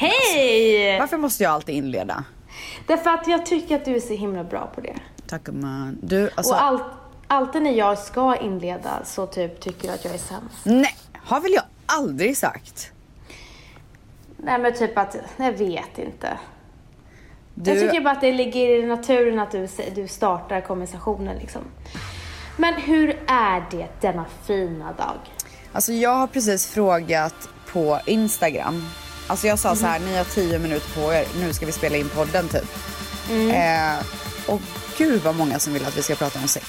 Eh, Varför måste jag alltid inleda? Därför att jag tycker att du är så himla bra på det. Tack gumman. Du, alltså. Och allt, alltid när jag ska inleda så typ tycker du att jag är sämst. Nej, har väl jag aldrig sagt. Nej men typ att, jag vet inte. Du, Jag tycker bara att det ligger i naturen att du, sä- du startar konversationen liksom. Men hur är det denna fina dag? Alltså jag har precis frågat på Instagram. Alltså jag Mhm. sa så här, ni har 10 minuter på er, nu ska vi spela in podden typ. Mm. Eh, och gud vad många som vill att vi ska prata om sex.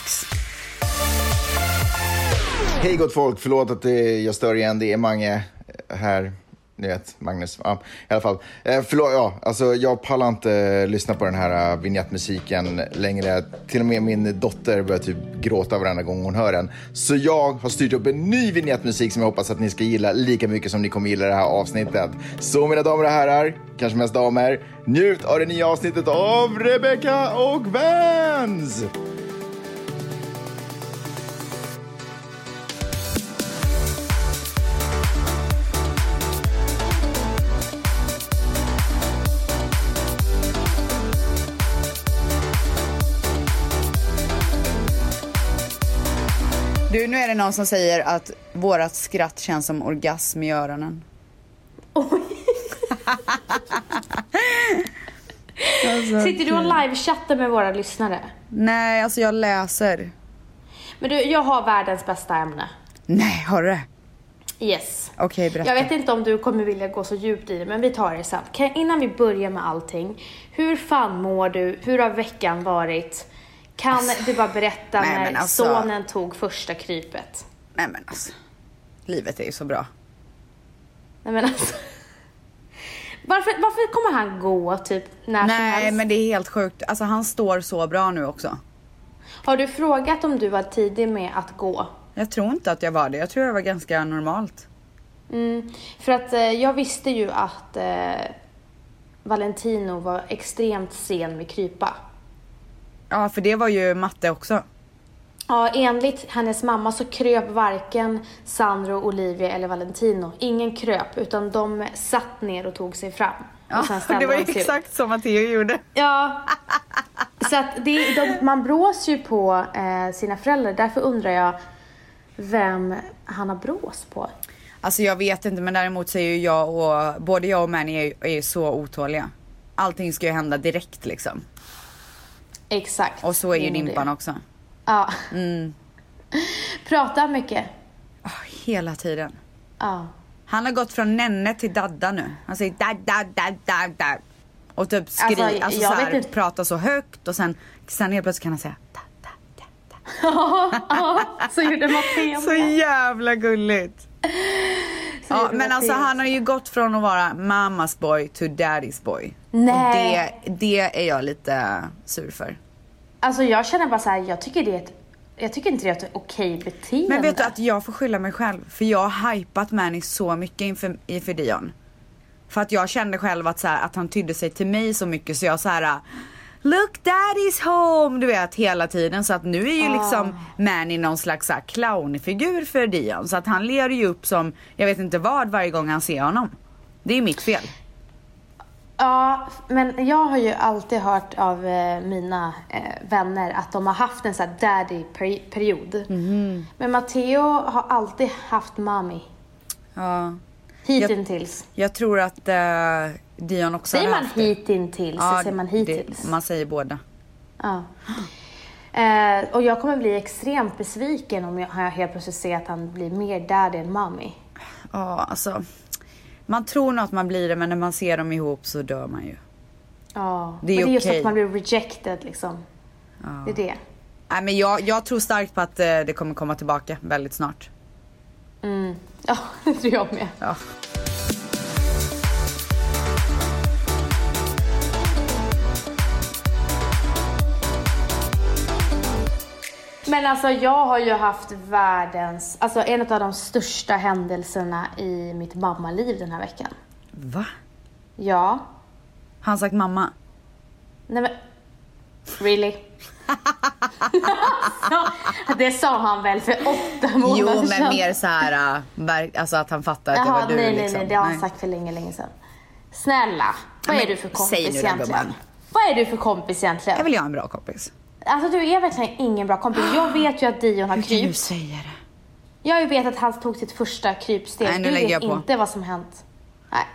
Hej gott folk, förlåt att eh, jag stör igen. Det är Mange eh, här. Ni vet, Magnus. Ja, I alla fall. Eh, förlåt, ja, alltså, jag pallar inte eh, lyssna på den här eh, vignettmusiken längre. Till och med min dotter börjar typ gråta varenda gång hon hör den. Så jag har styrt upp en ny vignettmusik som jag hoppas att ni ska gilla lika mycket som ni kommer gilla det här avsnittet. Så mina damer och herrar, kanske mest damer, njut av det nya avsnittet av Rebecca och Vans! Du, nu är det någon som säger att vårat skratt känns som orgasm i öronen. Alltså, Sitter du och livechattar med våra lyssnare? Nej, alltså jag läser. Men du, jag har världens bästa ämne. Nej, har du det? Yes. Okej, berätta. Jag vet inte om du kommer vilja gå så djupt i det, men vi tar det sen. Kan, innan vi börjar med allting, hur fan mår du? Hur har veckan varit? Kan du bara berätta Alltså, nej, men när alltså- sonen tog första krypet? Nej men alltså. Livet är ju så bra. Nej men alltså. Varför, varför kommer han gå typ när som Nej helst? men det är helt sjukt. Alltså han står så bra nu också. Har du frågat om du var tidig med att gå? Jag tror inte att jag var det. Jag tror jag var ganska normalt. Mm, för att eh, jag visste ju att eh, Valentino var extremt sen med krypa. Ja för det var ju matte också. Ja, enligt hennes mamma så kröp varken Sandro, Olivia eller Valentino. Ingen kröp, utan de satt ner och tog sig fram. Ja, Och sen ställde det var typ- de ju sig upp. exakt som Matteo gjorde. Ja. Så att det, de, man brås ju på eh, sina föräldrar. Därför undrar jag vem han har brås på. Alltså jag vet inte men däremot så är ju jag och både jag och Manny är, ju- är ju så otåliga. Allting ska ju hända direkt liksom. Exakt. Och så är ju Mm, Dimpan det. också. Mm. Ja. Pratar mycket. Ah, hela tiden. Ja. Han har gått från nenne till dadda nu. Han säger dadda, dadda, dadda. Och typ skriver, alltså, Alltså, jag så vet här, inte. pratar så högt och sen, sen helt plötsligt kan han säga dadda, dadda. så gjorde Matteo Så jävla gulligt. Ja, men alltså han har ju gått från att vara mammas boy to daddy's boy. Och det, Nej. det är jag lite sur för. Alltså jag känner bara så här, jag tycker det är ett jag tycker inte det är ett okej beteende. Men vet du att jag får skylla mig själv för jag har hypat Manny så mycket inför, inför Dion. För att jag kände själv att, så här, att han tydde sig till mig så mycket så jag så här. Look daddy's home! Du vet hela tiden så att nu är ju liksom Manny någon slags så här, clownfigur för Dion så att han ler ju upp som jag vet inte vad varje gång han ser honom. Det är ju mitt fel. Ja, men jag har ju alltid hört av eh, mina eh, vänner att de har haft en sån här daddy-period. Mhm. Men Matteo har alltid haft mommy. Ja. Hittills. Jag tror att eh, Dion också Säger har man haft det. hittills så säger man det- hittills. man säger båda. Ja. Eh, och jag kommer bli extremt besviken om jag om jag helt plötsligt ser att han blir mer daddy än mommy. Ja, alltså. Man tror nog att man blir det, men när man ser dem ihop så dör man ju. Ja. Det är men det är just okej. att man blir rejected liksom. Det är det. Nej, men jag, jag tror starkt på att eh, det kommer komma tillbaka väldigt snart. Mm. Ja, det tror jag med. Ja. Men alltså jag har ju haft världens, alltså en av de största händelserna i mitt mammaliv den här veckan. Va? Ja. Har han sagt mamma? Nej men, really? alltså, det sa han väl för åtta månader Jo, men sedan. mer så här, eh, verk- alltså att han fattar att det Jaha, var du nej, nej, liksom. nej, det har han sagt för länge, länge sedan. Snälla, vad Ja, är men du för kompis säg nu då, egentligen? gumman. Vad är du för kompis egentligen? Jag vill ju ha en bra kompis. Alltså du är verkligen ingen bra kompis. Jag vet ju att Dion har Hur kan du krypt. säga det? Jag vet att han tog sitt första krypsteg. Nej, nu du lägger vet jag på. inte vad som hänt. Nej.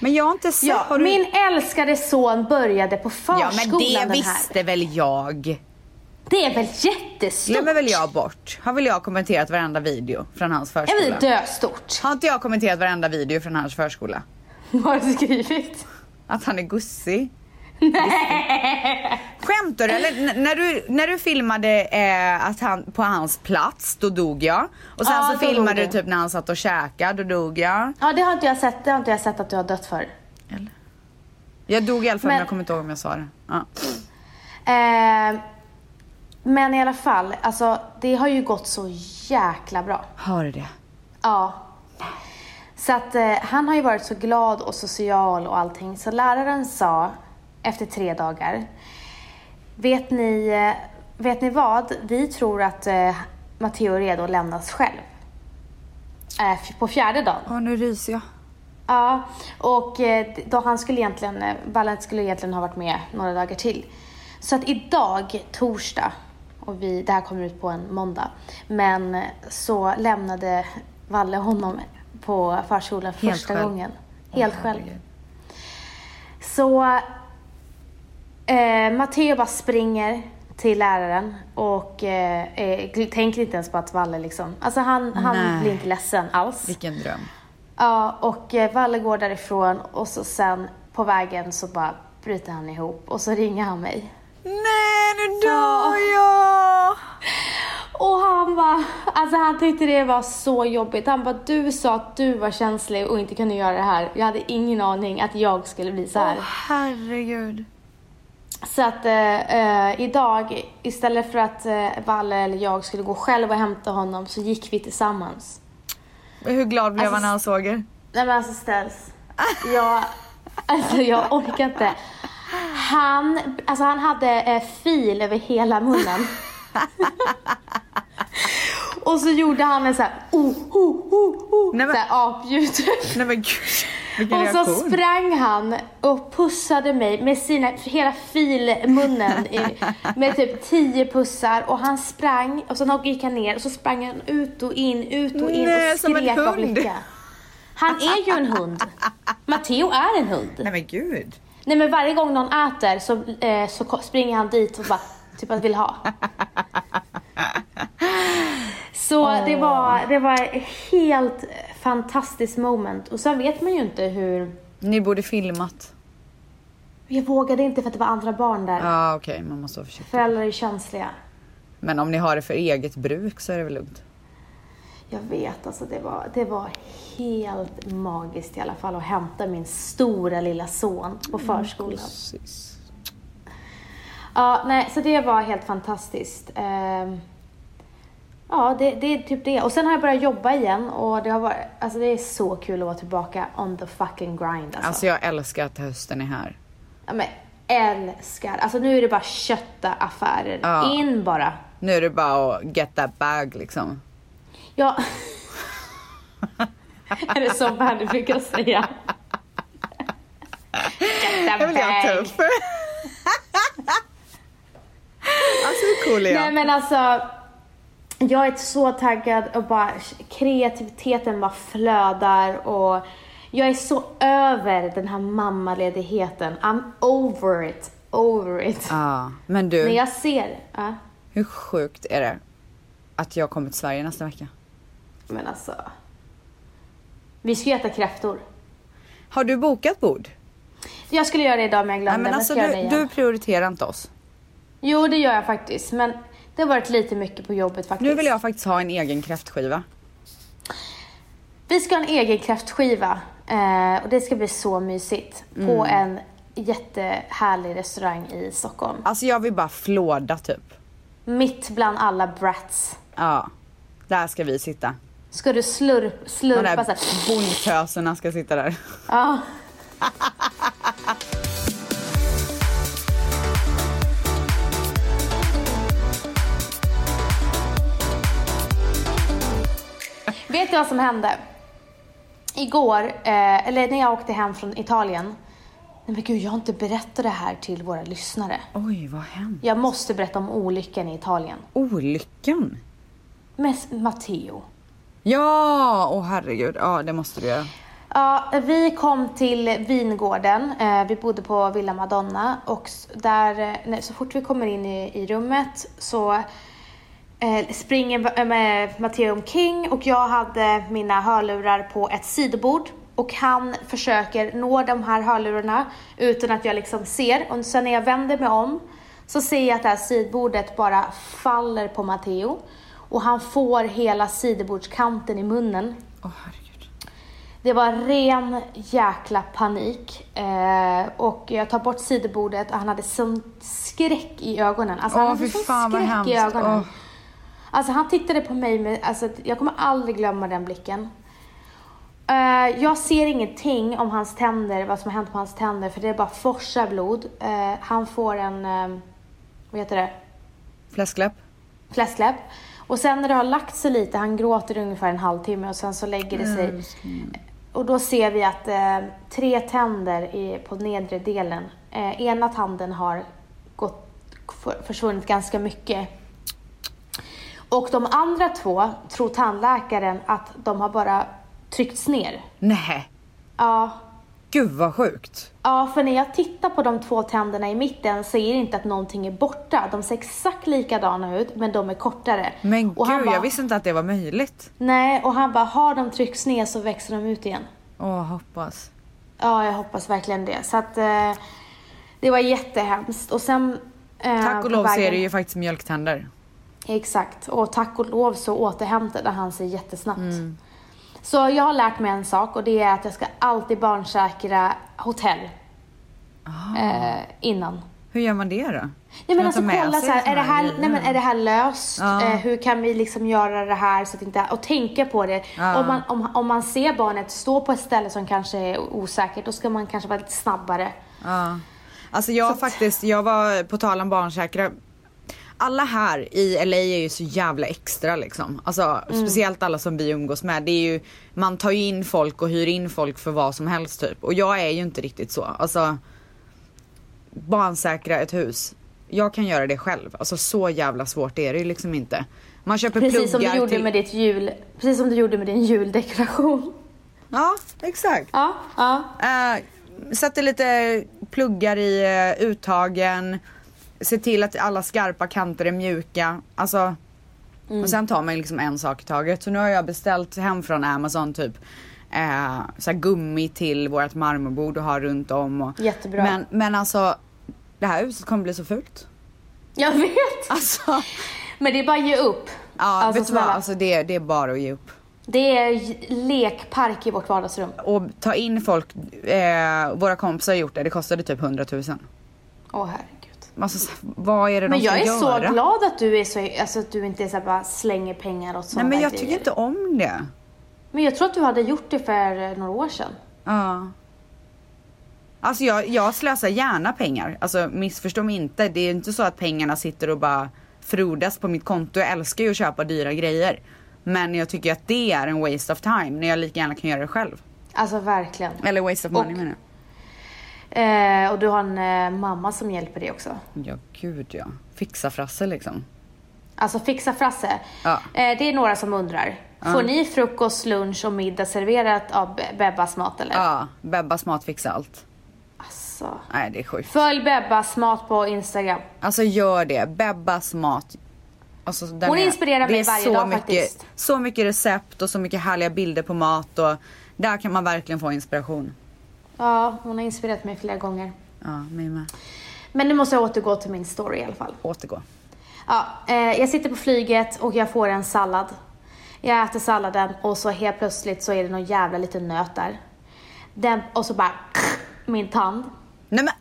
Men jag har inte sett... Ja, har du- min älskade son började på ja förskolan men det den här. visste väl jag. Det är väl jättestort? Glömmer väl jag bort. Har väl jag kommenterat varenda video från hans Är förskola? vi döstort? Har inte jag kommenterat varenda video från hans förskola? Vad har du skrivit? Att han är gussig? Nej. Skämtar du eller? N- när, du, när du filmade eh, att han, på hans plats, då dog jag. Och sen Ja, så då filmade du dog du. typ när han satt och käkade, då dog jag. Ja, det har inte jag sett. Det har inte jag sett att du har dött för. Eller? Jag dog i alla fall men Men- jag kommer inte ihåg om jag sa det. Ja. Eh, men i alla fall, alltså det har ju gått så jäkla bra. Har du det? Ja. Så att eh, han har ju varit så glad och social och allting. Så läraren sa efter tre dagar, vet ni, eh, vet ni vad? Vi tror att eh, Matteo är redo att lämnas själv. Eh, f- på fjärde dagen. Åh nu ryser jag. Ja, och eh, då han skulle egentligen, eh, Valent skulle egentligen ha varit med några dagar till. Så att idag, torsdag, och vi, det här kommer ut på en måndag, men eh, så lämnade Valle honom på förskolan för Helt första själv. gången. Helt själv. herregud. Så eh, Matteo bara springer till läraren och eh, eh, gl- tänker inte ens på att Valle liksom, alltså han, Nej. han blir inte ledsen alls. Vilken dröm. Ja, och eh, Valle går därifrån och så sen på vägen så bara bryter han ihop och så ringer han mig. Nej nu Ja. dör jag! Och han bara, alltså han tyckte det var så jobbigt. Han bara, du sa att du var känslig och inte kunde göra det här. Jag hade ingen aning att jag skulle bli så här. Åh herregud. Så att eh, eh, idag, istället för att eh, Valle eller jag skulle gå själv och hämta honom så gick vi tillsammans. Hur glad blev Alltså, han när han såg er? Nej men alltså ställs. Jag, alltså jag orkar inte. Han, alltså han hade eh, fil över hela munnen. Och så gjorde han en så här oh, oh, oh, oh, Nej, men- så här apljud. Nej men gud. Vilken Och så reaktion. sprang han och pussade mig med sina, hela filmunnen i, med typ tio pussar och han sprang och sen gick han ner och så sprang han ut och in, ut och in Nej, och som en skrek av hund. lycka. Han är ju en hund. Matteo är en hund. Nej men gud. Nej men varje gång någon äter så, eh, så ko- springer han dit och bara typ att vill ha. Så det, var, det var ett helt fantastiskt moment och sen vet man ju inte hur Ni borde filmat. Jag vågade inte för att det var andra barn där. Ja ah, okej, man måste vara försiktig. Föräldrar är känsliga. Men om ni har det för eget bruk så är det väl lugnt. Jag vet alltså, det var, det var helt magiskt i alla fall att hämta min stora lilla son på Mm, förskolan. Precis. Ja, nej, så det var helt fantastiskt. Ehm, ja, det, det är typ det. Och sen har jag börjat jobba igen och det har varit, alltså det är så kul att vara tillbaka on the fucking grind alltså. Alltså jag älskar att hösten är här. Ja, men älskar. Alltså nu är det bara kötta affärer. Ja. In bara. Nu är det bara att get that bag liksom. Ja. är det så Bandy brukar säga? Get Jag the vill jag bag. tuff. alltså hur cool är Nej jag? men alltså. Jag är så taggad och bara kreativiteten bara flödar och jag är så över den här mammaledigheten. I'm over it, over it. Ja, men När du, jag ser, ja, hur sjukt är det att jag kommer till Sverige nästa vecka? men alltså. Vi ska ju äta kräftor. Har du bokat bord? Jag skulle göra det idag men jag glömde. Nej men Jag alltså ska göra det du, igen. du prioriterar inte oss. Jo, det gör jag faktiskt. Men det har varit lite mycket på jobbet faktiskt. Nu vill jag faktiskt ha en egen kräftskiva. Vi ska ha en egen kräftskiva eh, och det ska bli så mysigt Mm. på en jättehärlig restaurang i Stockholm. Alltså jag vill bara flåda typ. Mitt bland alla brats. Ja, där ska vi sitta. Ska du slurp, De slurpa där så här. bondtöserna ska sitta där. Ja. Vet du vad som hände? Igår, eh, eller när jag åkte hem från Italien. Nej men gud, jag har inte berättat det här till våra lyssnare. Oj, vad hemskt. Jag måste berätta om olyckan i Italien. Olyckan? Med Matteo. Ja, åh herregud. Ja, det måste du göra. Ja, vi kom till vingården. Eh, vi bodde på Villa Madonna och s- där, eh, när- så fort vi kommer in i, i rummet så eh, springer Va- eh, med Matteo omkring och jag hade mina hörlurar på ett sidobord och han försöker nå de här hörlurarna utan att jag liksom ser och sen när jag vänder mig om så ser jag att det här sidbordet bara faller på Matteo och han får hela sidobordskanten i munnen Åh herregud. det var ren jäkla panik. Eh, och jag tar bort sidobordet och han hade sån skräck i ögonen. Alltså, Åh, han hade fy sån fan, vad skräck i hemskt. ögonen. Åh. Alltså han tittade på mig med, alltså, jag kommer aldrig glömma den blicken. Eh, jag ser ingenting om hans tänder, vad som har hänt på hans tänder, för det är bara forsar blod. Eh, han får en, eh, vad heter det? Fläskläpp? fläskläpp. Och sen när det har lagt sig lite, han gråter ungefär en halvtimme och sen så lägger det sig. Och då ser vi att eh, tre tänder i, på nedre delen, eh, ena tanden har gått, för- försvunnit ganska mycket. Och de andra två tror tandläkaren att de har bara tryckts ner. Nej. Ja, Gud vad sjukt. Ja, för när jag tittar på de två tänderna i mitten så är det inte att någonting är borta. De ser exakt likadana ut, men de är kortare. Men och han gud, bara, jag visste inte att det var möjligt. Nej, och han bara, har de tryckts ner så växer de ut igen. Åh, hoppas. Ja, jag hoppas verkligen det. Så att eh, det var jättehemskt. Och sen... eh, Tack på och lov så är vägen- det ju faktiskt mjölktänder. Exakt, och tack och lov så återhämtade han sig jättesnabbt. Mm. Så jag har lärt mig en sak och det är att jag ska alltid barnsäkra hotell. Ah. Eh, innan. Hur gör man det Ja, då? Man men tar alltså med kolla sig så här, såna är det här, grejer. nej, men är det här löst? Ja. Eh, hur kan vi liksom göra det här så att inte, och tänka på det. Ja. Om, man, om, om man ser barnet stå på ett ställe som kanske är osäkert, då ska man kanske vara lite snabbare. Ja. Alltså jag Så att- faktiskt, jag var på tal om barnsäkra. Alla här i LA är ju så jävla extra liksom. Alltså Mm. speciellt alla som vi umgås med. Det är ju, man tar ju in folk och hyr in folk för vad som helst typ. Och jag är ju inte riktigt så. Alltså barnsäkra ett hus. Jag kan göra det själv. Alltså så jävla svårt är det ju liksom inte. Man köper Precis som pluggar typ. du gjorde till... med ditt jul, precis som du gjorde med din juldekoration. Ja, exakt. Ja, ja. Eh, sätter lite pluggar i eh, uttagen. Se till att alla skarpa kanter är mjuka. Alltså, Mm. Och sen tar man liksom en sak i taget. Så nu har jag beställt hem från Amazon typ eh, så här gummi till vårt marmorbord och ha runt om. Och, Jättebra. Men, men alltså, det här huset kommer bli så fult. Jag vet! Alltså, Men det är bara att ge upp. ja, Alltså, vet du vad? snälla. Alltså, det, det är bara att ge upp. Det är j- lekpark i vårt vardagsrum. Och ta in folk, eh, våra kompisar har gjort det, det kostade typ 100 000. Åh herregud. Alltså, så- vad är det Men de ska jag är göra? så glad att du, är så, alltså, att du inte är så här, bara slänger pengar åt Nej sådana men jag grejer. tycker inte om det. Men jag tror att du hade gjort det för eh, några år sedan. Ja. Alltså jag, jag slösar gärna pengar. Alltså missförstå mig inte. Det är inte så att pengarna sitter och bara frodas på mitt konto. Jag älskar ju att köpa dyra grejer. Men jag tycker att det är en waste of time när jag lika gärna kan göra det själv. Alltså verkligen. Eller waste of Och- money menar jag. Eh, och du har en eh, mamma som hjälper dig också. Ja gud ja. Fixa frasse liksom. Alltså fixa Frasse. Ja. Eh, det är några som undrar. Får ni frukost, lunch och middag serverat av Be- Bebbas mat eller? Ja, Bebbas mat fixa allt. Alltså. Nej det är sjukt. Följ Bebbas mat på Instagram. Alltså gör det. Bebbas mat. Alltså, den Hon är- inspirerar det mig är varje så dag mycket, faktiskt. Så mycket recept och så mycket härliga bilder på mat och där kan man verkligen få inspiration. Ja, hon har inspirerat mig flera gånger. Ja, mig med. Men nu måste jag återgå till min story i alla fall. Återgå. Ja, eh, jag sitter på flyget och jag får en sallad. Jag äter salladen och så helt plötsligt så är det någon jävla liten nöt där. Den, och så bara min tand. Nej men!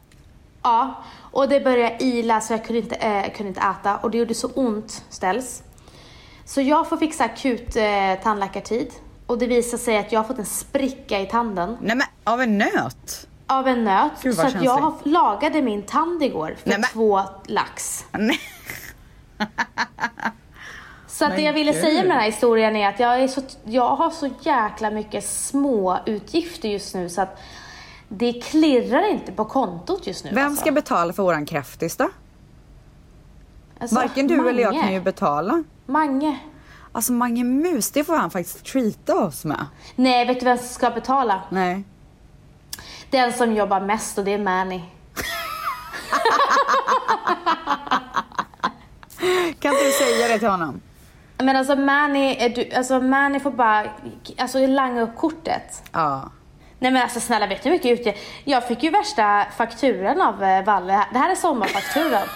Ja, och det började ila så jag kunde inte, eh, kunde inte äta och det gjorde så ont ställs. Så jag får fixa akut eh, tandläkartid och det visar sig att jag har fått en spricka i tanden Nej men av en nöt? av en nöt. Gud, så vad att jag har, känsligt. lagade min tand igår för Nej, men- två lax. Nej. Så att det Men jag ville säga gud. med den här historien är att jag, är så, jag har så jäkla mycket små utgifter just nu så att det klirrar inte på kontot just nu. Vem alltså. ska betala för våran kräftis då? Alltså, Varken du eller jag Mange. kan ju betala. Mange. Alltså Mange Mus, det får han faktiskt treata oss med. Nej, vet du vem som ska betala? Nej. Den som jobbar mest och det är Mani. Kan inte du säga det till honom? Men alltså Mani, är du, alltså Mani får bara alltså, langa upp kortet. Ja. Nej men alltså snälla vet du hur mycket utge... Jag fick ju värsta fakturan av eh, Valle. här. Det här är sommarfakturan.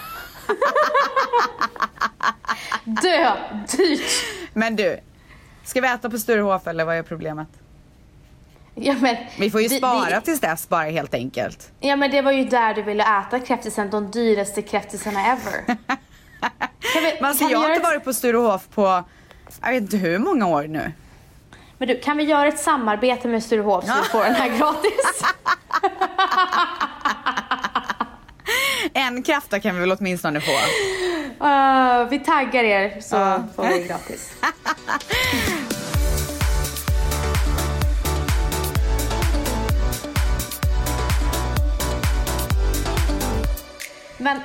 Dö! Dyrt! Men du, ska vi äta på Sturehof eller vad är problemet? Ja, men, Vi får ju det- spara det- tills dess bara helt enkelt. Ja men det var ju där du ville äta kräftisen, de dyraste kräftisarna ever. Kan vi, Men alltså kan vi jag har göra inte ett- varit på Sturehof på, jag vet inte hur många år nu. Men du, kan vi göra ett samarbete med Sturehof så vi får den här gratis? En kräfta kan vi väl åtminstone få. Eh, vi taggar er så Ja. får vi gratis. Men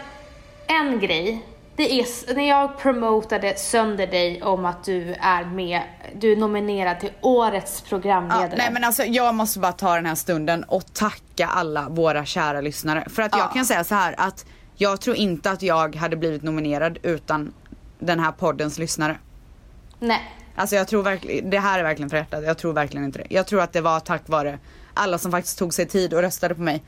en grej, det är s- när jag promotade sönder dig om att du är med, du är nominerad till årets Ja, programledare. nej men alltså jag måste bara ta den här stunden och tacka alla våra kära lyssnare. För att jag Ja. kan säga så här att jag tror inte att jag hade blivit nominerad utan den här poddens lyssnare. nej. Alltså jag tror verkligen, det här är verkligen för hjärtat. Jag tror verkligen inte det. Jag tror att det var tack vare alla som faktiskt tog sig tid och röstade på mig.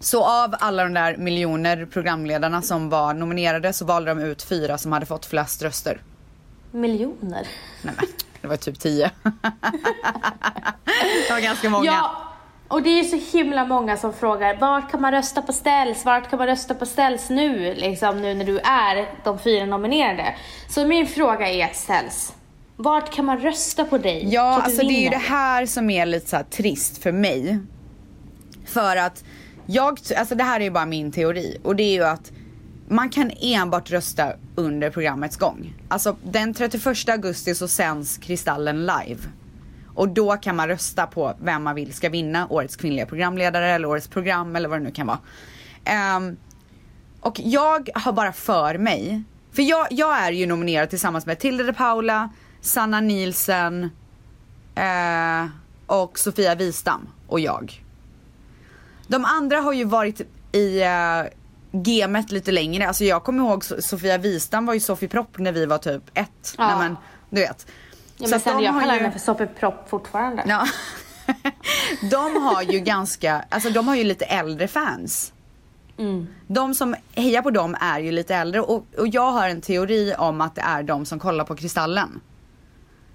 Så av alla de där miljoner programledarna som var nominerade så valde de ut fyra som hade fått flest röster. Miljoner. Nej men, det var typ tio. det var ganska många. Ja, och det är ju så himla många som frågar vart kan man rösta på ställs, vart kan man rösta på ställs nu, liksom nu när du är de fyra nominerade. Så min fråga är ställs, vart kan man rösta på dig? Ja, så att du alltså det är ju vinner? det här som är lite så här trist för mig. För att jag, alltså det här är ju bara min teori och det är ju att man kan enbart rösta under programmets gång. Alltså den 31 augusti så sänds Kristallen live. Och då kan man rösta på vem man vill ska vinna årets kvinnliga programledare eller årets program eller vad det nu kan vara. Ehm, och jag har bara för mig, för jag, jag är ju nominerad tillsammans med Tilde de Paula, Sanna Nielsen eh, och Sofia Wistam och jag. De andra har ju varit i eh, gamet lite längre. Alltså jag kommer ihåg So- Sofia Wistam var ju Sofie Propp när vi var typ ett. Ja. Nej, men, du vet. Ja, Så men att sen de jag har kallar ju- henne för soppepropp fortfarande. Ja. De har ju ganska, alltså de har ju lite äldre fans. Mm. De som hejar på dem är ju lite äldre och, och jag har en teori om att det är de som kollar på Kristallen.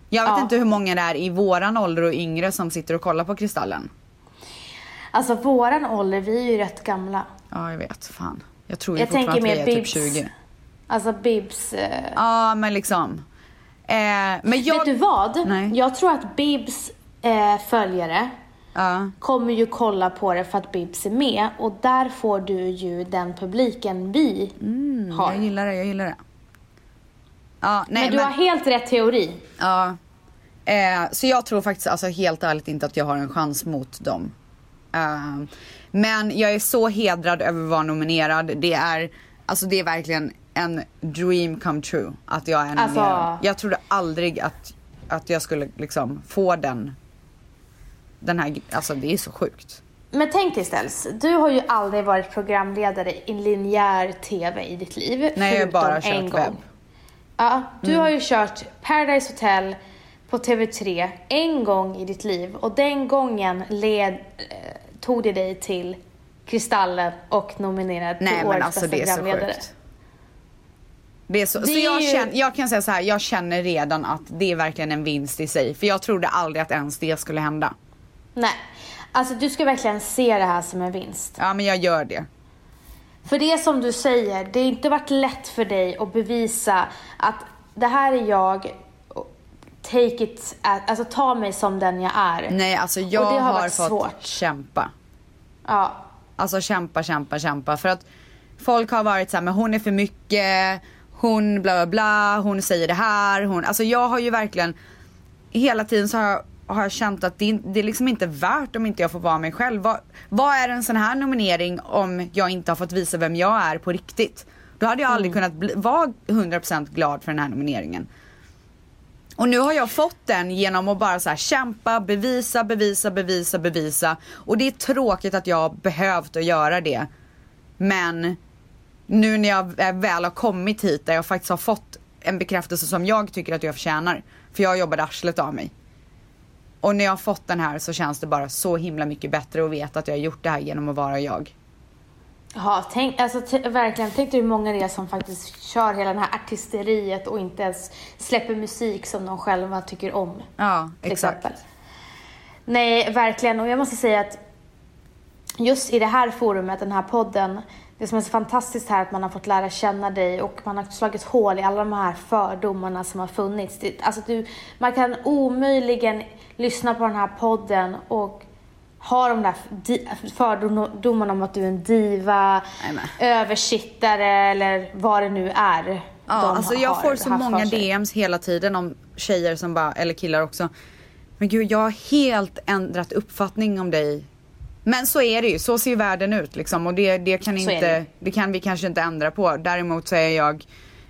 Jag vet Ja. inte hur många det är i våran ålder och yngre som sitter och kollar på Kristallen. Alltså våran ålder, vi är ju rätt gamla. Ja jag vet, fan. Jag tror ju Jag fortfarande tänker att vi mer är typ Bibs. 20. Alltså Bibs... Eh... Ja men liksom. Eh, men jag... Vet du vad? Nej. Jag tror att Bibs eh, följare Ja. kommer ju kolla på det för att Bibs är med och där får du ju den publiken vi har. jag gillar det, jag gillar det. Ja, nej, men du har helt rätt teori. Ja. Eh, så jag tror faktiskt alltså, helt ärligt inte att jag har en chans mot dem. Eh, men jag är så hedrad över att vara nominerad. Det är, alltså, det är verkligen en dream come true att jag är Alltså- nominerad. Jag trodde aldrig att, att jag skulle liksom, få den. Den här, alltså det är så sjukt. Men tänk dig Stels, du har ju aldrig varit programledare i linjär TV i ditt liv. Nej, jag har förutom bara en kört gång. webb. Mm. Ja, du har ju kört Paradise Hotel på TV3 en gång i ditt liv och den gången led, eh, tog det dig till Kristallen och nominerad Nej till men årets alltså bästa det är så programledare. sjukt. Det är så, så Det är jag, ju- känner, jag kan säga så här, jag känner redan att det är verkligen en vinst i sig. För jag trodde aldrig att ens det skulle hända. Nej, alltså du ska verkligen se det här som en vinst. Ja men jag gör det. För det är som du säger, det har inte varit lätt för dig att bevisa att det här är jag, och take it, at, alltså ta mig som den jag är. Nej, alltså jag det har har, varit fått svårt. kämpa. Ja, Alltså kämpa, kämpa, kämpa. För att folk har varit så här, men hon är för mycket, hon bla bla bla, hon säger det här, hon, alltså jag har ju verkligen hela tiden så har jag, har jag känt att det, är- det är liksom inte värt om inte jag får vara mig själv. Vad, vad är en sån här nominering om jag inte har fått visa vem jag är på riktigt? Då hade jag Mm. aldrig kunnat bli, vara 100% glad för den här nomineringen. Och nu har jag fått den genom att bara så här kämpa, bevisa, bevisa, bevisa, bevisa. Och det är tråkigt att jag har behövt att göra det. Men nu när jag väl har kommit hit där jag faktiskt har fått en bekräftelse som jag tycker att jag förtjänar. För jag jobbade arslet av mig. Och när jag har fått den här så känns det bara så himla mycket bättre att veta att jag har gjort det här genom att vara jag. Ja, tänk, alltså, t- verkligen. Tänk dig hur många det är som faktiskt kör hela det här artisteriet och inte ens släpper musik som de själva tycker om. Ja, till exakt. exempel. Nej, verkligen. Och jag måste säga att just i det här forumet, den här podden, det som är så fantastiskt här är att man har fått lära känna dig och man har slagit hål i alla de här fördomarna som har funnits. Det, alltså du, man kan omöjligen lyssna på den här podden och ha de där di- fördomarna om att du är en diva, Nej, men. översittare eller vad det nu är. Ja, de alltså jag har får så haft för många sig. DMs hela tiden om tjejer som bara, eller killar också. Men gud, jag har helt ändrat uppfattning om dig. Men så är det ju, så ser världen ut liksom och det, det kan Så är inte, det. det. kan vi kanske inte ändra på. Däremot så är jag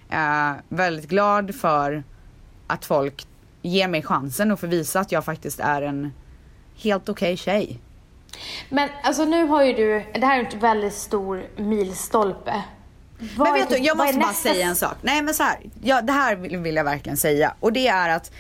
eh, väldigt glad för att folk ger mig chansen och får visa att jag faktiskt är en helt okej tjej. Men alltså nu har ju du, det här är ju en väldigt stor milstolpe. Vad men är vet du, ditt- jag vad är måste bara nästa- säga en sak. Nej men så här, ja, det här vill, vill jag verkligen säga. Och det är att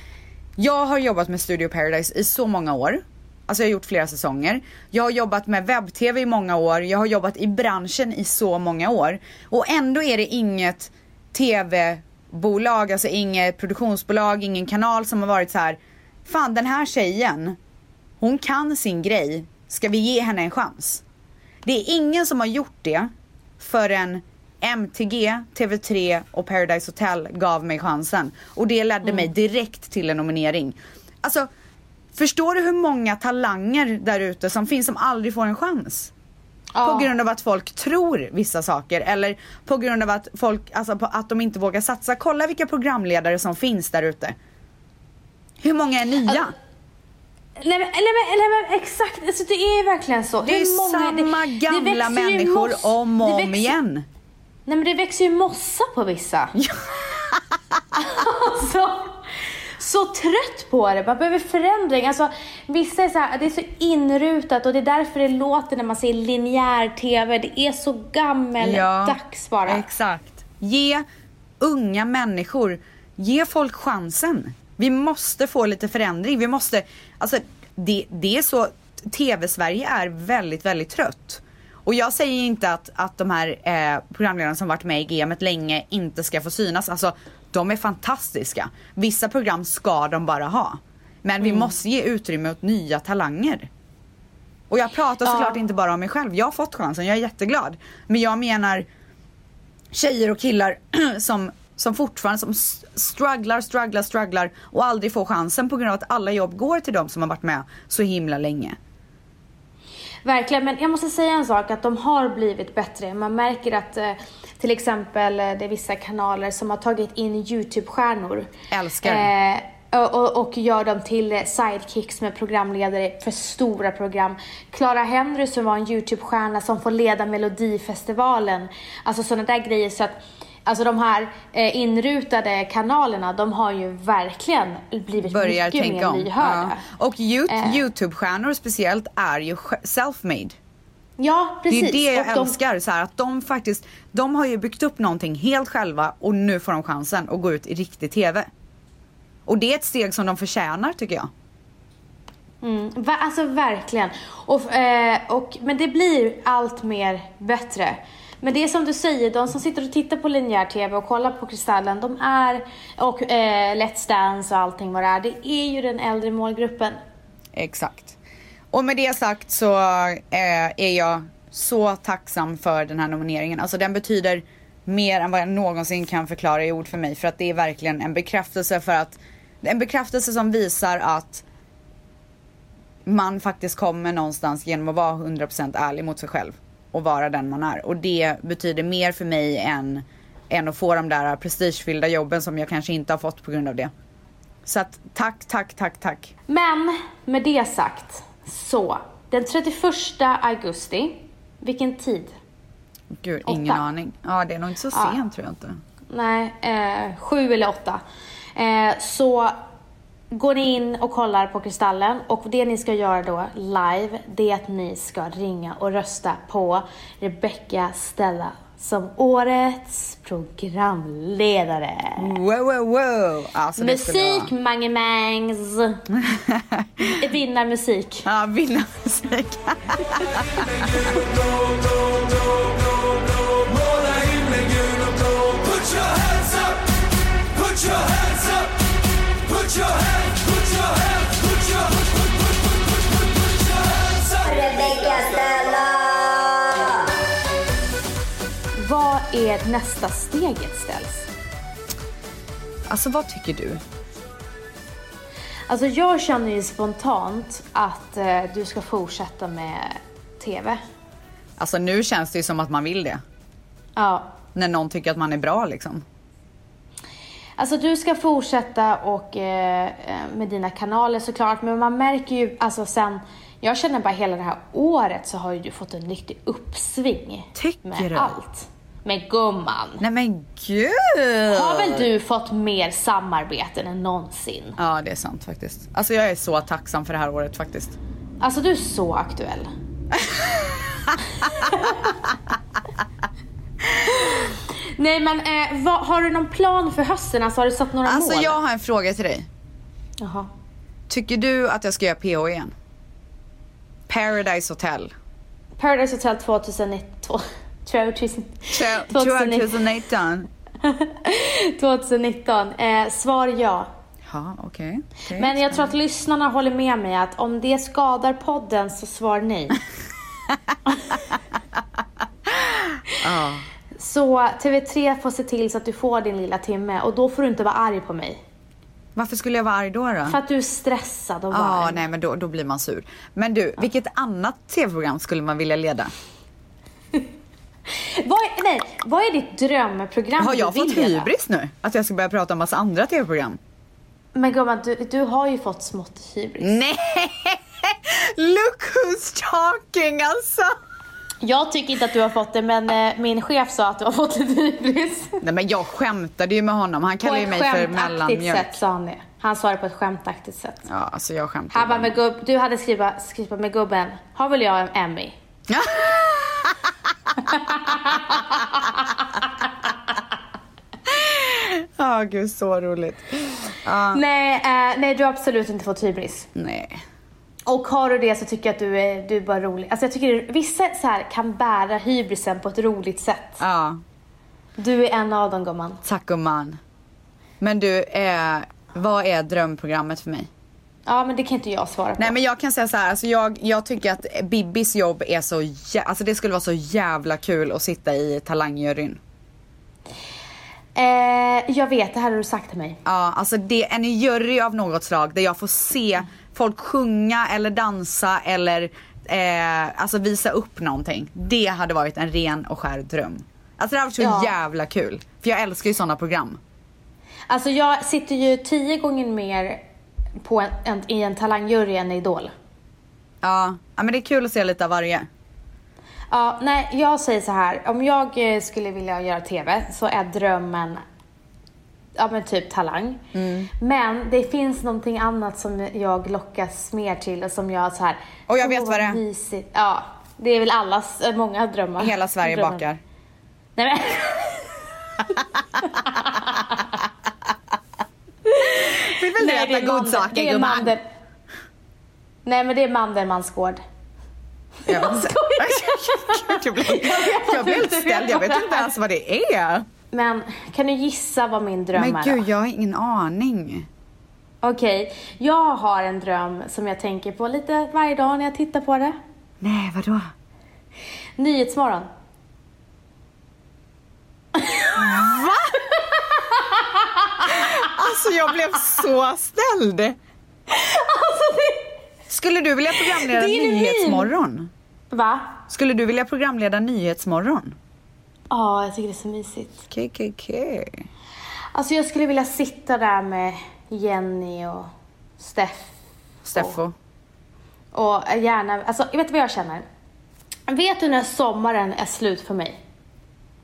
jag har jobbat med Studio Paradise i så många år. Alltså jag har gjort flera säsonger. Jag har jobbat med webb-tv i många år. Jag har jobbat i branschen i så många år. Och ändå är det inget tv-bolag, alltså inget produktionsbolag, ingen kanal som har varit så här. Fan den här tjejen, hon kan sin grej. Ska vi ge henne en chans? Det är ingen som har gjort det förrän MTG, TV3 och Paradise Hotel gav mig chansen. Och det ledde mig direkt till en nominering. Alltså, förstår du hur många talanger där ute som finns som aldrig får en chans? Ja. På grund av att folk tror vissa saker eller på grund av att folk, alltså på att de inte vågar satsa. Kolla vilka programledare som finns där ute. Hur många är nya? Nej men, nej, men, nej men exakt, alltså, det är verkligen så. det är ju Hur många- det- samma det gamla växer ju människor moss- om och det om växer- igen. Nej men det växer ju mossa på vissa. alltså, så trött på det, man behöver förändring. Alltså, vissa är så här, det är så inrutat och det är därför det låter när man säger linjär TV, det är så gammeldags bara. Exakt. Ge unga människor, ge folk chansen. Vi måste få lite förändring. Vi måste, alltså det, det är så, TV-Sverige är väldigt, väldigt trött. Och jag säger inte att, att de här eh, programledarna som varit med i gamet länge inte ska få synas. Alltså de är fantastiska. Vissa program ska de bara ha. Men vi Mm. måste ge utrymme åt nya talanger. Och jag pratar såklart inte bara om mig själv. Jag har fått chansen, jag är jätteglad. Men jag menar tjejer och killar som, som fortfarande som s- strugglar, strugglar, strugglar och aldrig får chansen på grund av att alla jobb går till de som har varit med så himla länge. Verkligen, men jag måste säga en sak att de har blivit bättre. Man märker att eh, till exempel eh, det är vissa kanaler som har tagit in YouTube-stjärnor. Älskar. Eh, och- och, och gör dem till eh, sidekicks med programledare för stora program. Clara Henry som var en YouTube-stjärna som får leda Melodifestivalen. Alltså sådana där grejer. Så att, alltså de här eh, inrutade kanalerna, de har ju verkligen blivit Börjar mycket tänka mer om. lyhörda. Ja. Och Eh. Yout- Youtube-stjärnor speciellt är ju sj- self-made. Ja, Det precis. är det jag och de älskar, så här, att de faktiskt, de har ju byggt upp någonting helt själva och nu får de chansen att gå ut i riktig TV. Och det är ett steg som de förtjänar tycker jag. Mm, va, alltså verkligen. Och, eh, och, men det blir allt mer bättre. Men det är som du säger, de som sitter och tittar på linjär TV och kollar på Kristallen, de är, och eh, Let's Dance och allting vad det är, det är ju den äldre målgruppen. Exakt. Och med det sagt så eh, är jag så tacksam för den här nomineringen. Alltså den betyder mer än vad jag någonsin kan förklara i ord för mig. För att det är verkligen en bekräftelse för att, en bekräftelse som visar att man faktiskt kommer någonstans genom att vara 100% ärlig mot sig själv och vara den man är. Och det betyder mer för mig än än att få de där prestigefyllda jobben som jag kanske inte har fått på grund av det. Så att tack, tack, tack, tack. Men med det sagt, så den 31 augusti, vilken tid? Gud, ingen Åtta. aning. Ja, det är nog inte så Ja. sent tror jag inte. Nej, eh, sju eller åtta. Eh, så går ni in och kollar på Kristallen och det ni ska göra då live, det är att ni ska ringa och rösta på Rebecca Stella som årets programledare. Wow, wow, wow. Alltså, det skulle vara- Musik, Mange Mangs! Vinnarmusik. Ja, vinnarmusik. Måla himlen gul och blå. Put your hands up, put your hands up, put your hands, put your hands, put your, put, put, put, put, put, put, put your hands up. Rebecca Stella! Vad är nästa steget ställs? Alltså vad tycker du? Alltså jag känner ju spontant att eh, du ska fortsätta med TV. Alltså nu känns det ju som att man vill det. Ja. När någon tycker att man är bra liksom. Alltså du ska fortsätta och, eh, eh, med dina kanaler såklart, men man märker ju alltså sen, jag känner bara hela det här året så har ju du fått en riktig uppsving. Tycker med du? allt. Med gumman. Nej men gud! Har väl du fått mer samarbeten än någonsin? Ja det är sant faktiskt. Alltså jag är så tacksam för det här året faktiskt. Alltså du är så aktuell. Nej men eh, vad, har du någon plan för hösten? Alltså har du satt några Alltså mål? jag har en fråga till dig. Jaha. Tycker du att jag ska göra PH igen? Paradise Hotel. Paradise Hotel 2019. 2000, 2019. 2019. Eh, svar ja. Ja okej. okej. Men jag tror att lyssnarna håller med mig att om det skadar podden så svar nej. Så TV3 får se till så att du får din lilla timme och då får du inte vara arg på mig. Varför skulle jag vara arg då? då? För att du är stressad och Ja, varm. nej men då, då blir man sur. Men du, vilket annat tv-program skulle man vilja leda? Vad, är, nej, vad är ditt drömprogram Har du jag vill fått göra? hybris nu? Att jag ska börja prata om massa andra tv-program? Men gumman, du, du har ju fått smått hybris. Nej! Look who's talking alltså! Jag tycker inte att du har fått det, men eh, min chef sa att du har fått lite hybris. Nej men jag skämtade ju med honom. Han På kallar ju ett mig för skämtaktigt mellanmjölk. sätt sa han det. Han sa det på ett skämtaktigt sätt. Ja, alltså jag Han bara, skämtade. med gubb, du hade skrivit, skrivit med gubben, har väl jag en Emmy? Ja, gud så roligt. Nej, eh, nej, du har absolut inte fått hybris. Nej. Och har du det så tycker jag att du är, du är bara rolig. Alltså jag tycker att vissa så här kan bära hybrisen på ett roligt sätt. Ja, Du är en av dem gumman. tack gumman. Men du, eh, vad är drömprogrammet för mig? Ja, men det kan inte jag svara på. Nej men jag kan säga så här, alltså jag, jag tycker att Bibbis jobb är så jä- alltså det skulle vara så jävla kul att sitta i talangjuryn. Eh, jag vet, det här har du sagt till mig. Ja, alltså det, en jury av något slag där jag får se folk sjunga eller dansa eller eh, alltså visa upp någonting. Det hade varit en ren och skär dröm. Alltså det hade varit så Ja. jävla kul. För jag älskar ju sådana program. Alltså jag sitter ju tio gånger mer på en, en, i en talangjury än i Idol. Ja. ja, men det är kul att se lite av varje. Ja, nej, jag säger så här. Om jag eh, skulle vilja göra TV så är drömmen ja, men typ talang. Mm. Men det finns någonting annat som jag lockas mer till och som jag så här... Och jag vet "Åh, vad det är." mysigt. Ja, det är väl allas, eh, många drömmar. Hela Sverige Drömmar. bakar. Nej, men. Vill väl du Nej, det äta är god mandel- sak det är gumman? mandel. Nej, men det är Mandelmans gård. Jag vet inte. Gud, jag blev- Jag blev helt ställd, jag vet inte ens vad det är. Men kan du gissa vad min dröm Men är? då? gud, jag har ingen aning. Okej, jag har en dröm som jag tänker på lite varje dag när jag tittar på det. Nej, vadå? Nyhetsmorgon. Alltså jag blev så ställd. Alltså, Skulle du vilja programleda Det är ju min. Nyhetsmorgon? Va? Skulle du vilja programleda Nyhetsmorgon? Ja, jag tycker det är så mysigt. KKK. Alltså jag skulle vilja sitta där med Jenny och Steff. Steffo. Och gärna, alltså vet du vad jag känner? Vet du när sommaren är slut för mig?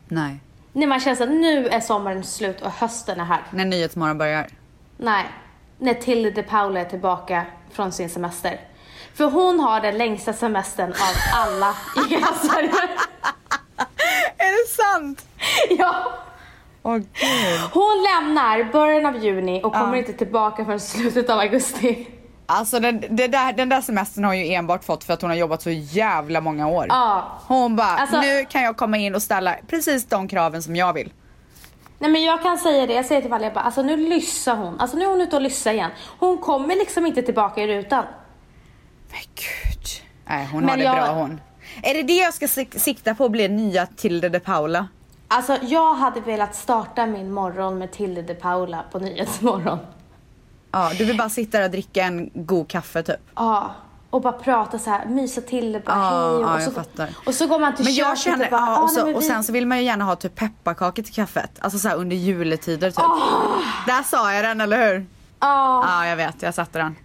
Nej. När man känner att nu är sommaren slut och hösten är här. När Nyhetsmorgon börjar. Nej, när Tilde de Paula är tillbaka från sin semester. För hon har den längsta semestern av alla i hela Sverige. Är det sant? Ja. Åh gud. Hon lämnar början av juni och kommer Ja. inte tillbaka förrän slutet av augusti. Alltså den, det där, den där semestern har ju enbart fått för att hon har jobbat så jävla många år. Ja. Hon bara, Alltså- nu kan jag komma in och ställa precis de kraven som jag vill. Nej men jag kan säga det, jag säger till Valle, jag bara, alltså nu lyssar hon. Alltså nu är hon ute och lyssar igen. Hon kommer liksom inte tillbaka i rutan. Men gud. Nej hon Men har det jag- bra hon. Är det det jag ska sik- sikta på att bli nya Tilde de Paula? Alltså jag hade velat starta min morgon med Tilde de Paula på Nyhetsmorgon. Ja, du vill bara sitta där och dricka en god kaffe typ. Ja, och bara prata så här, mysa till det bara Ja, hej. ja, och, jag så, fattar. och så går man till Men köket jag känner, och bara, ja, och, "Ah, nej, så, men och vi- sen så vill man ju gärna ha typ pepparkakor till kaffet. Alltså såhär under juletider typ. Där sa jag den, eller hur? Ja, Ja, jag vet, jag satte den.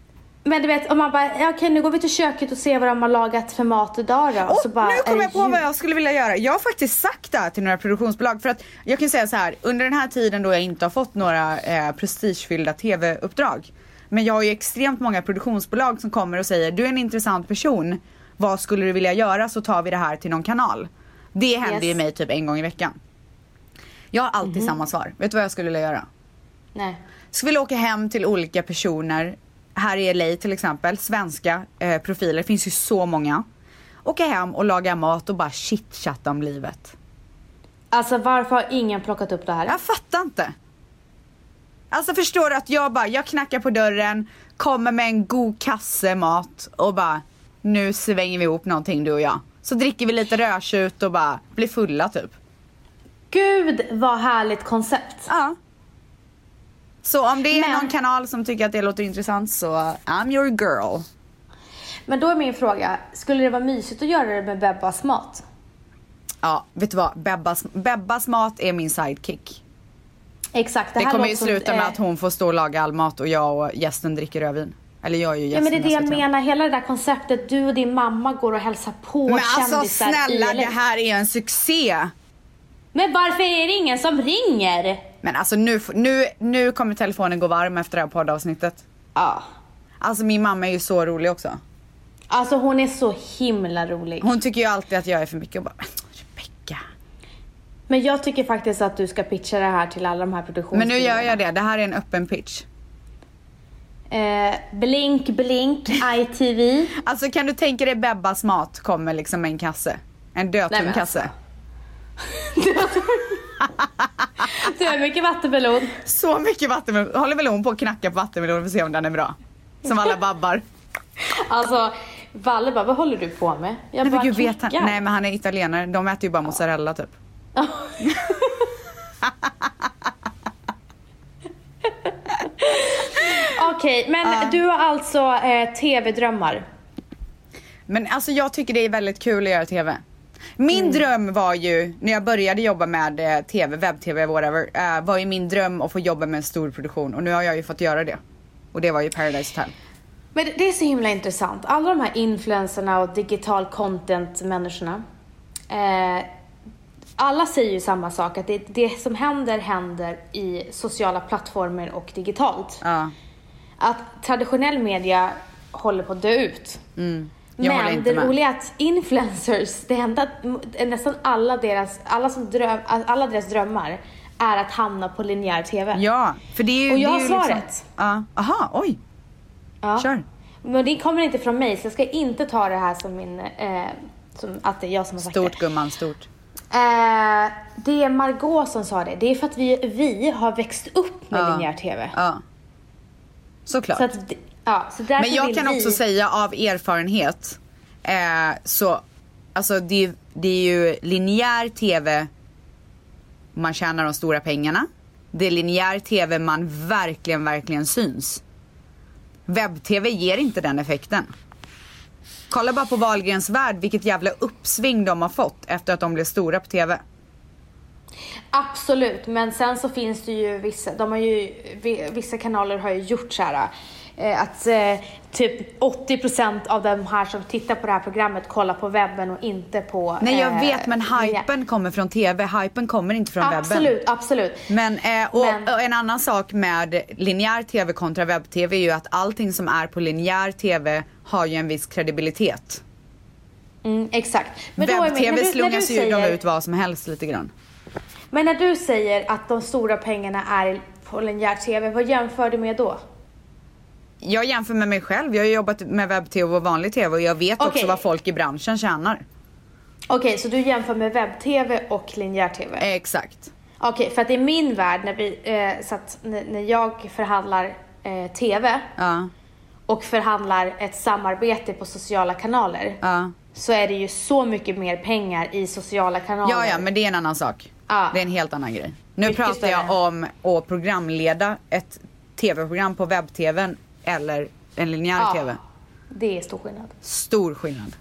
men du vet om man bara, ja, okej nu går vi till köket och ser vad de har lagat för mat idag då. Och Åh, så bara, eh, nu är kom det jag på jul. vad jag skulle vilja göra. Jag har faktiskt sagt det här till några produktionsbolag för att jag kan säga så här, under den här tiden då jag inte har fått några eh, prestigefyllda tv-uppdrag. Men jag har ju extremt många produktionsbolag som kommer och säger du är en intressant person. Vad skulle du vilja göra så tar vi det här till någon kanal. Det händer Yes. Mhm. ju mig typ en gång i veckan. Jag har alltid samma svar. Vet du vad jag skulle vilja göra? Nej. skulle vilja åka hem till olika personer här i LA till exempel, svenska eh, profiler, det finns ju så många. Åka hem och laga mat och bara chitchatta om livet. Alltså varför har ingen plockat upp det här? Jag fattar inte. Alltså förstår du att jag bara, jag knackar på dörren, kommer med en god kasse mat och bara nu svänger vi ihop någonting du och jag. Så dricker vi lite rödtjut och bara blir fulla typ. Gud vad härligt koncept. Ja. Så om det är Men- någon kanal som tycker att det låter intressant så I'm your girl. Men då är min fråga, skulle det vara mysigt att göra det med Bebbas mat? Ja, vet du vad? Bebbas, Bebbas mat är min sidekick. Exakt, det, Det här kommer låter ju som- sluta eh, med att hon får stå och laga all mat och jag och gästen dricker rödvin. Eller jag är ju Ja gästen. men det är det jag ska säga. menar, hela det där konceptet, du och din mamma går och hälsar på Men kändisar alltså snälla, i det här är en succé! Men varför är det ingen som ringer? Men alltså nu, f- nu, nu kommer telefonen gå varm efter det här poddavsnittet. Ja. Alltså min mamma är ju så rolig också. Alltså hon är så himla rolig. Hon tycker ju alltid att jag är för mycket och bara "Men, Rebecca. Men jag tycker faktiskt att du ska pitcha det här till alla de här Men produktionsbyråerna. nu gör jag det, det här är en öppen pitch. Eh, blink, blink, ITV. Alltså kan du tänka dig Bebbas mat kommer liksom med en kasse? En Nej, dödtung men alltså. kasse. Du har mycket vattenmelon. Så mycket vattenmelon. Håller väl hon på att knacka på vattenmelonen för att se om den är bra? Som alla babbar. Alltså, Valle bara, vad håller du på med? Jag Nej men bara, gud vet han. klickar. Nej men han är italienare. De äter ju bara mozzarella typ. Okej, men du har alltså eh, TV-drömmar. Men alltså jag tycker det är väldigt kul att göra TV. Min dröm var ju, när jag började jobba med eh, TV, webb-TV, whatever, eh, var ju min dröm att få jobba med en stor produktion och nu har jag ju fått göra det. Och det var ju Paradise Hotel. Men det- det är så himla intressant. Alla de här influencerna och digital content-människorna. Eh, alla säger ju samma sak, att det, det som händer, händer i sociala plattformar och digitalt. Ja. Att traditionell media håller på att dö ut. Mm. Jag håller Men inte det med. roliga är att influencers, det enda, nästan alla deras, alla, som dröm, alla deras drömmar är att hamna på linjär TV. Ja, för det är ju... Och jag det är har ju svaret. Liksom, ja. Aha, oj. Ja. Kör. Men det kommer inte från mig, så jag ska inte ta det här som min... Eh, som att det är jag som har sagt Stort det. gumman, stort. Eh, det är Margot som sa det. Det är för att vi, vi har växt upp med Ja. linjär TV. Ja. Såklart. Så att, det- ja, så därför Men jag vill kan vi... också säga av erfarenhet, eh, så alltså det, är- det är ju linjär tv man tjänar de stora pengarna. Det är linjär tv man verkligen, verkligen syns. Webb-tv ger inte den effekten. Kolla bara på Wahlgrens värld, vilket jävla uppsving de har fått efter att de blev stora på tv. Absolut, men sen så finns det ju vissa, de har ju, vi- vissa kanaler har ju gjort så här eh, att eh, typ 80% av de här som tittar på det här programmet kollar på webben och inte på... Nej jag eh, vet men linjär- hypen kommer från TV, hypen kommer inte från webben. Absolut, absolut. Men, eh, och, Men- och en annan sak med linjär TV kontra webb-TV är ju att allting som är på linjär TV har ju en viss kredibilitet. Mm, exakt. Men då är min- när du- Webb-TV när slungar du sig ju de säger- ut vad som helst lite grann. Men när du säger att de stora pengarna är på linjär TV, vad jämför du med då? Jag jämför med mig själv, jag har ju jobbat med webb-TV och vanlig TV och jag vet också Okej. vad folk i branschen tjänar. Okej, så du jämför med webb-TV och linjär TV? Eh, Exakt. Okej, för att i min värld, när, vi, eh, så att, n- när jag förhandlar eh, TV Ja, och förhandlar ett samarbete på sociala kanaler, ja. så är det ju så mycket mer pengar i sociala kanaler. Ja, ja, men det är en annan sak. Ja. Det är en helt annan grej. Nu Mycket pratar jag större. om att programleda ett TV-program på webb-TVn eller en linjär Ja, TV. Det är stor skillnad. Stor skillnad.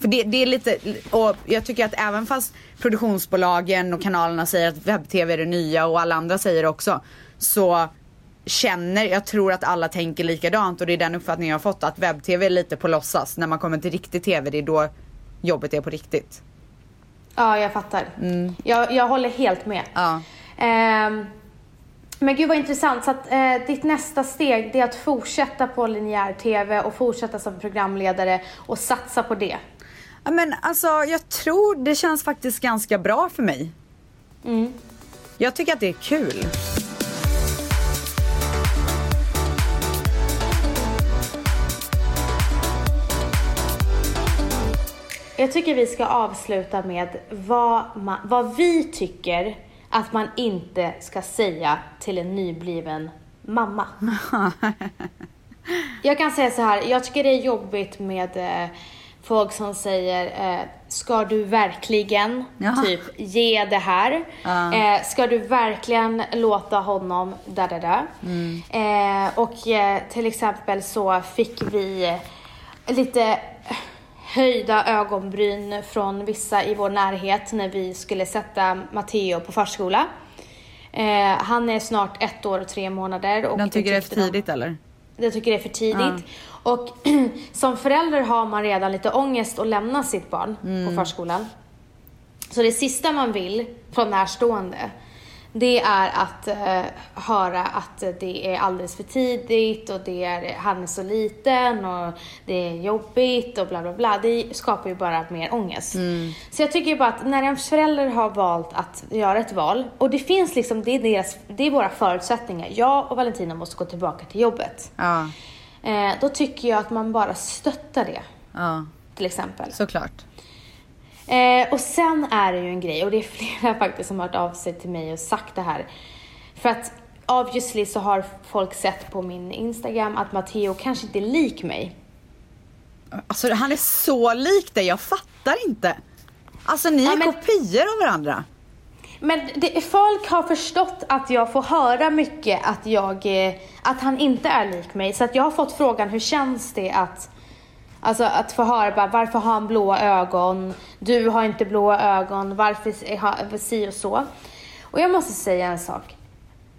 För det, det är lite, och jag tycker att även fast produktionsbolagen och kanalerna säger att webb-tv är det nya och alla andra säger det också. Så känner, jag tror att alla tänker likadant och det är den uppfattningen jag har fått att webb-tv är lite på låtsas. När man kommer till riktig tv det är då jobbet är på riktigt. Ja, jag fattar. Jag, jag håller helt med. Ja. Ehm, men gud vad intressant. Så att, eh, ditt nästa steg det är att fortsätta på linjär TV och fortsätta som programledare och satsa på det. Ja, men alltså jag tror det känns faktiskt ganska bra för mig. Jag tycker att det är kul. Jag tycker vi ska avsluta med vad, ma- vad vi tycker att man inte ska säga till en nybliven mamma. jag kan säga så här, jag tycker det är jobbigt med eh, folk som säger eh, Ska du verkligen Ja. typ ge det här? Ja. Eh, ska du verkligen låta honom da da da? Mm. Eh, och eh, till exempel så fick vi lite höjda ögonbryn från vissa i vår närhet när vi skulle sätta Matteo på förskola. Eh, han är snart ett år och tre månader. Och De tycker det är för tyckte de- tidigt eller? jag tycker det är för tidigt. Och som förälder har man redan lite ångest att lämna sitt barn på förskolan. Så det sista man vill från närstående, det är att eh, höra att det är alldeles för tidigt och det är, han är så liten och det är jobbigt och bla bla bla. Det skapar ju bara mer ångest. Så jag tycker ju bara att när en förälder har valt att göra ett val och det finns liksom, det är, deras, det är våra förutsättningar. Jag och Valentina måste gå tillbaka till jobbet. Ja, Eh, då tycker jag att man bara stöttar det, ja, till exempel. såklart. Eh, och sen är det ju en grej, och det är flera faktiskt som har hört av sig till mig och sagt det här. För att obviously så har folk sett på min Instagram att Matteo kanske inte är lik mig. Alltså han är så lik dig, jag fattar inte. Alltså ni är Ja, men- kopior av varandra. Men det, folk har förstått att jag får höra mycket att, jag, eh, att han inte är lik mig. Så att jag har fått frågan, hur känns det att, alltså att få höra bara, varför har han blåa ögon? Du har inte blåa ögon, varför är ha- si och så? Och jag måste säga en sak.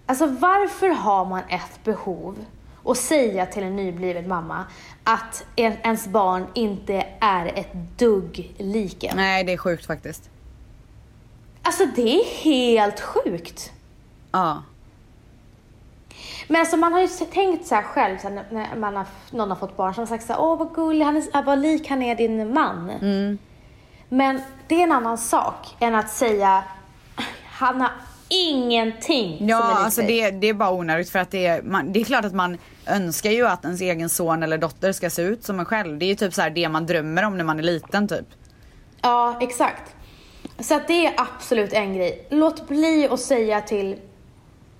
Alltså varför har man ett behov att säga till en nybliven mamma att en, ens barn inte är ett dugg lik en? Nej det är sjukt faktiskt. Alltså det är helt sjukt. Ja. Men alltså man har ju tänkt så här själv så här, när man har, någon har fått barn som har sagt så här, åh vad gullig, han är, så- vad lik han är din man. Mm. Men det är en annan sak än att säga, han har ingenting Ja som är likt alltså dig." det, det är bara onödigt för att det är, man, det är klart att man önskar ju att ens egen son eller dotter ska se ut som en själv. Det är ju typ så här det man drömmer om när man är liten typ. Ja, exakt. Så att det är absolut en grej. Låt bli att säga till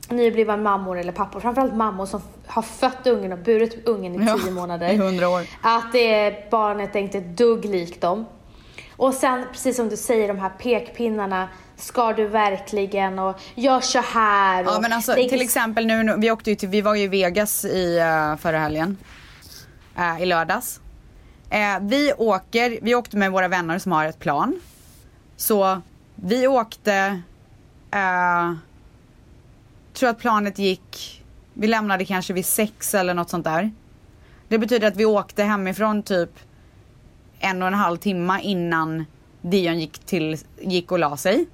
nyblivna mammor eller pappor, framförallt mammor som f- har fött ungen och burit ungen i Ja, tio månader. i 100 år. Att det är barnet är inte ett dugg likt dem. Och sen, precis som du säger, de här pekpinnarna. Ska du verkligen? Och gör så här. Ja och men alltså det är- till exempel nu, nu- vi åkte ju till, vi var ju i Vegas i eh, förra helgen. Eh, I lördags. Eh, vi åker, vi åkte med våra vänner som har ett plan. Så vi åkte Eh, tror att planet gick, vi lämnade kanske vid sex eller något sånt där. Det betyder att vi åkte hemifrån typ en och en halv timme innan Dion gick, till, gick och la sig.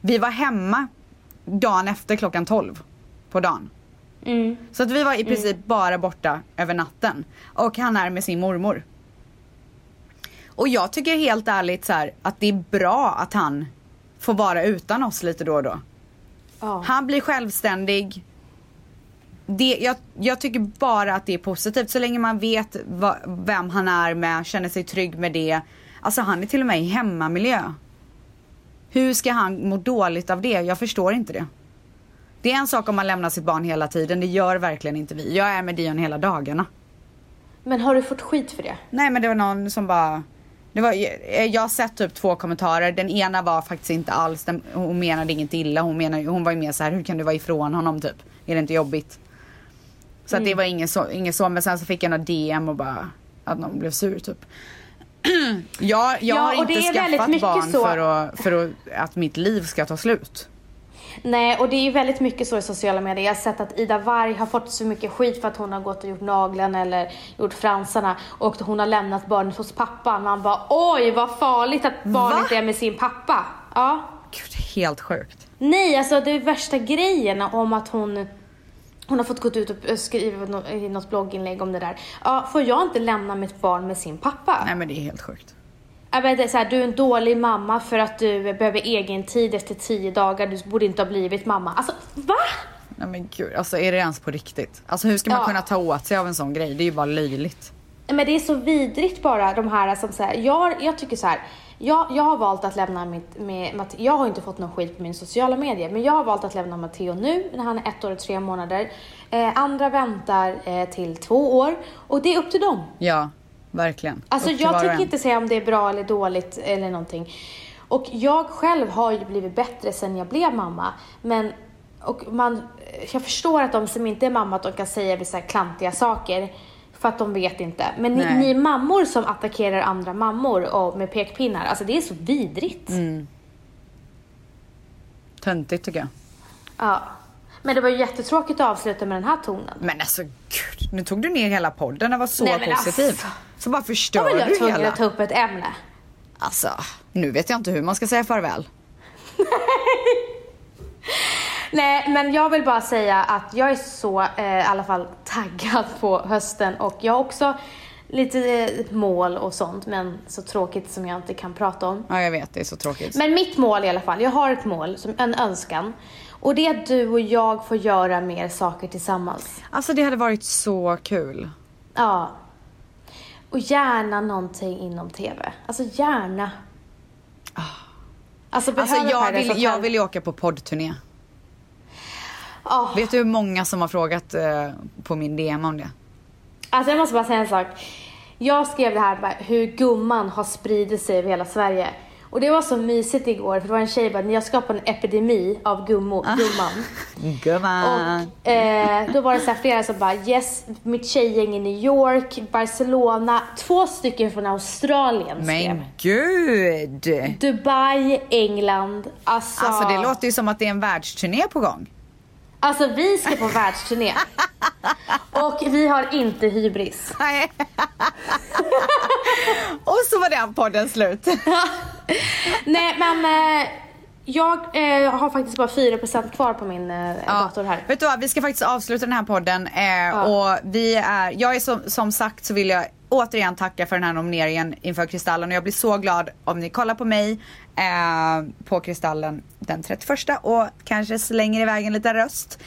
Vi var hemma dagen efter klockan 12 på dagen. Så att vi var i princip bara borta över natten. Och han är med sin mormor. Och jag tycker helt ärligt så här, att det är bra att han får vara utan oss lite då och då. Ja. Han blir självständig. Det, jag, jag tycker bara att det är positivt så länge man vet va, vem han är med, känner sig trygg med det. Alltså han är till och med i hemmamiljö. Hur ska han må dåligt av det? Jag förstår inte det. Det är en sak om man lämnar sitt barn hela tiden, det gör verkligen inte vi. Jag är med Dion hela dagarna. Men har du fått skit för det? Nej men det var någon som bara det var, jag har sett typ två kommentarer, den ena var faktiskt inte alls, den, hon menade inget illa, hon, menar, hon var ju mer så här hur kan du vara ifrån honom typ? Är det inte jobbigt? Så Mm. att det var ingen så, ingen så, men sen så fick jag något DM och bara att någon blev sur typ. jag jag Ja, har och det inte är väldigt skaffat mycket barn så. för, att, för att, att mitt liv ska ta slut. Nej, och det är ju väldigt mycket så i sociala medier. Jag har sett att Ida Warg har fått så mycket skit för att hon har gått och gjort naglarna eller gjort fransarna och hon har lämnat barnet hos pappan. Man bara oj vad farligt att barnet Va? är med sin pappa. Ja. Gud, helt sjukt. Nej, alltså det är värsta grejen om att hon hon har fått gå ut och skriva nå- i något blogginlägg om det där. Ja, får jag inte lämna mitt barn med sin pappa? Nej men det är helt sjukt. Jag vet, det är så här, du är en dålig mamma för att du behöver egen tid efter tio dagar. Du borde inte ha blivit mamma. Alltså, va? Nej men gud, alltså är det ens på riktigt? Alltså hur ska man Ja. kunna ta åt sig av en sån grej? Det är ju bara löjligt. Men det är så vidrigt bara de här som så här, jag, jag tycker så här. Jag, jag har valt att lämna mitt, med, Matte- jag har inte fått någon skit på mina sociala medier, men jag har valt att lämna Matteo nu när han är ett år och tre månader. Eh, andra väntar eh, till två år och det är upp till dem. Ja, verkligen. Alltså Upp till var jag och tänker en. inte säga om det är bra eller dåligt eller någonting. Och jag själv har ju blivit bättre sen jag blev mamma. Men, och man, jag förstår att de som inte är mamma, att de kan säga vissa klantiga saker. För att de vet inte. Men ni, Nej. ni mammor som attackerar andra mammor och med pekpinnar, alltså det är så vidrigt. Mm. Töntigt tycker jag. Ja. Men det var ju jättetråkigt att avsluta med den här tonen. Men alltså gud, nu tog du ner hela podden, den var så Nej, men positiv. alltså. Så bara Då var förstör jag du tvungen hela. att ta upp ett ämne. Alltså, nu vet jag inte hur man ska säga farväl. Nej, men jag vill bara säga att jag är så eh, i alla fall taggad på hösten och jag har också lite eh, mål och sånt, men så tråkigt som jag inte kan prata om. Ja jag vet, det är så tråkigt. Men mitt mål i alla fall, jag har ett mål, som en önskan. Och det är att du och jag får göra mer saker tillsammans. Alltså det hade varit så kul. Ja. Och gärna någonting inom TV. Alltså gärna. Alltså, Ah. Alltså behöver jag Paradise vill, Hotel- jag vill ju åka på poddturné. Ah. Vet du hur många som har frågat eh, på min DM om det? Alltså jag måste bara säga en sak. Jag skrev det här bara, hur gumman har spridit sig över hela Sverige. Och det var så mysigt igår för det var en tjej bara, ni har skapat en epidemi av gummo, Ah. gumman. Gumman. Och eh, då var det så här flera som bara, yes, mitt tjejgäng i New York, Barcelona, två stycken från Australien skrev. Men gud! Dubai, England, alltså. Alltså det låter ju som att det är en världsturné på gång. Alltså vi ska på världsturné. Och vi har inte hybris. Nej. Och så var den podden slut. Nej men eh, jag eh, har faktiskt bara 4% kvar på min eh, dator här. Vet du vad, vi ska faktiskt avsluta den här podden eh, och vi är, jag är som, som sagt så vill jag återigen tacka för den här nomineringen inför Kristallen och jag blir så glad om ni kollar på mig eh, på Kristallen den 31 och kanske slänger iväg en liten röst.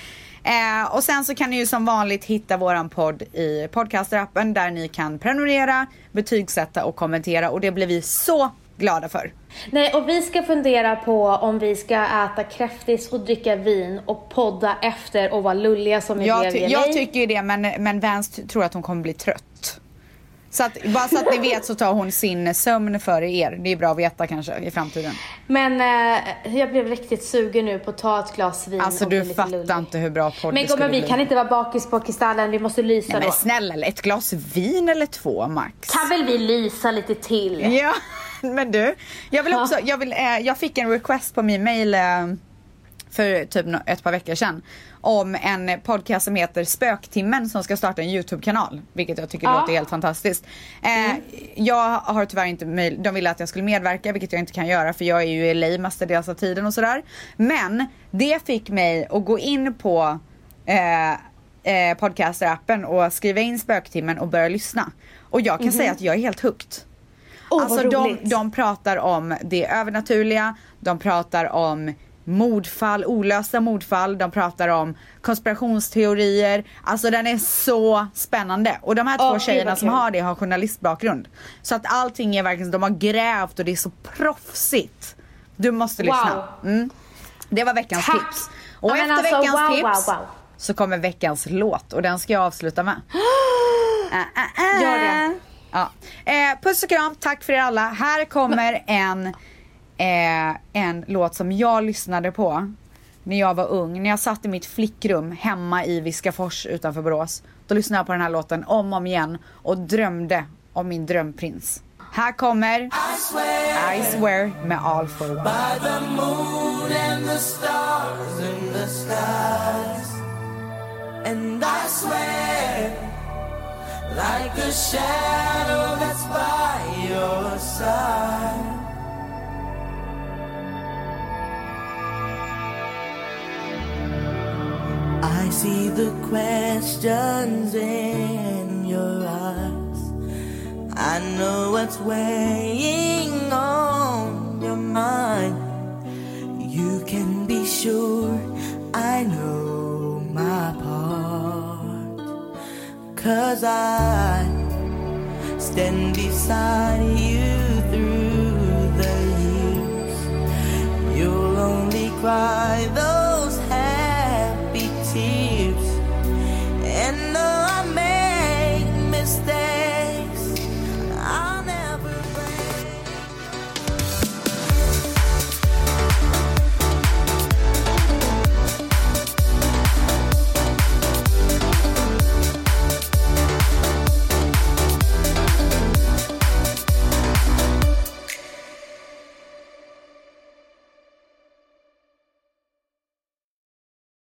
Eh, och sen så kan ni ju som vanligt hitta våran podd i podcasterappen där ni kan prenumerera, betygsätta och kommentera och det blir vi så glada för. Nej och vi ska fundera på om vi ska äta kräftis och dricka vin och podda efter och vara lulliga som vi Jag, blev ty- i LA. jag tycker ju det men, men Vance t- tror att hon kommer bli trött. Så att, bara så att ni vet så tar hon sin sömn före er. Det är bra att veta kanske i framtiden. Men eh, jag blev riktigt sugen nu på att ta ett glas vin Alltså och bli du lite fattar lullig. inte hur bra podd Men det skulle gumman vi bli. kan inte vara bakis på Kristallen, vi måste lysa Nej, men då. snälla ett glas vin eller två max. Kan väl vi lysa lite till? Ja men du, jag vill också, jag, vill, eh, jag fick en request på min mail eh, för typ nå- ett par veckor sedan. Om en podcast som heter Spöktimmen som ska starta en YouTube-kanal. Vilket jag tycker Ja. låter helt fantastiskt. Eh, Jag har tyvärr inte möjlighet, de ville att jag skulle medverka vilket jag inte kan göra för jag är ju i LA mestadels av tiden och sådär. Men det fick mig att gå in på eh, eh, podcaster-appen och skriva in Spöktimmen och börja lyssna. Och jag kan säga att jag är helt hooked. Åh, vad alltså de, roligt. de pratar om det övernaturliga, de pratar om mordfall, olösta mordfall, de pratar om konspirationsteorier. Alltså den är så spännande. Och de här Åh, två gud, tjejerna vad som kul. har det har journalistbakgrund. Så att allting är verkligen, de har grävt och det är så proffsigt. Du måste lyssna. Mm. Det var veckans Tack. tips. Och Ja, men efter alltså, veckans wow, tips wow, wow. så kommer veckans låt och den ska jag avsluta med. Ah, ah, ah. Gör det. Ja. Eh, puss och kram, tack för er alla. Här kommer en, eh, en låt som jag lyssnade på när jag var ung. När jag satt i mitt flickrum hemma i Viskafors utanför Borås. Då lyssnade jag på den här låten om och om igen och drömde om min drömprins. Här kommer I swear med All for One. And I swear, like a shadow that's by your side. I see the questions in your eyes. I know what's weighing on your mind. You can be sure I know my part. Cause I stand beside you.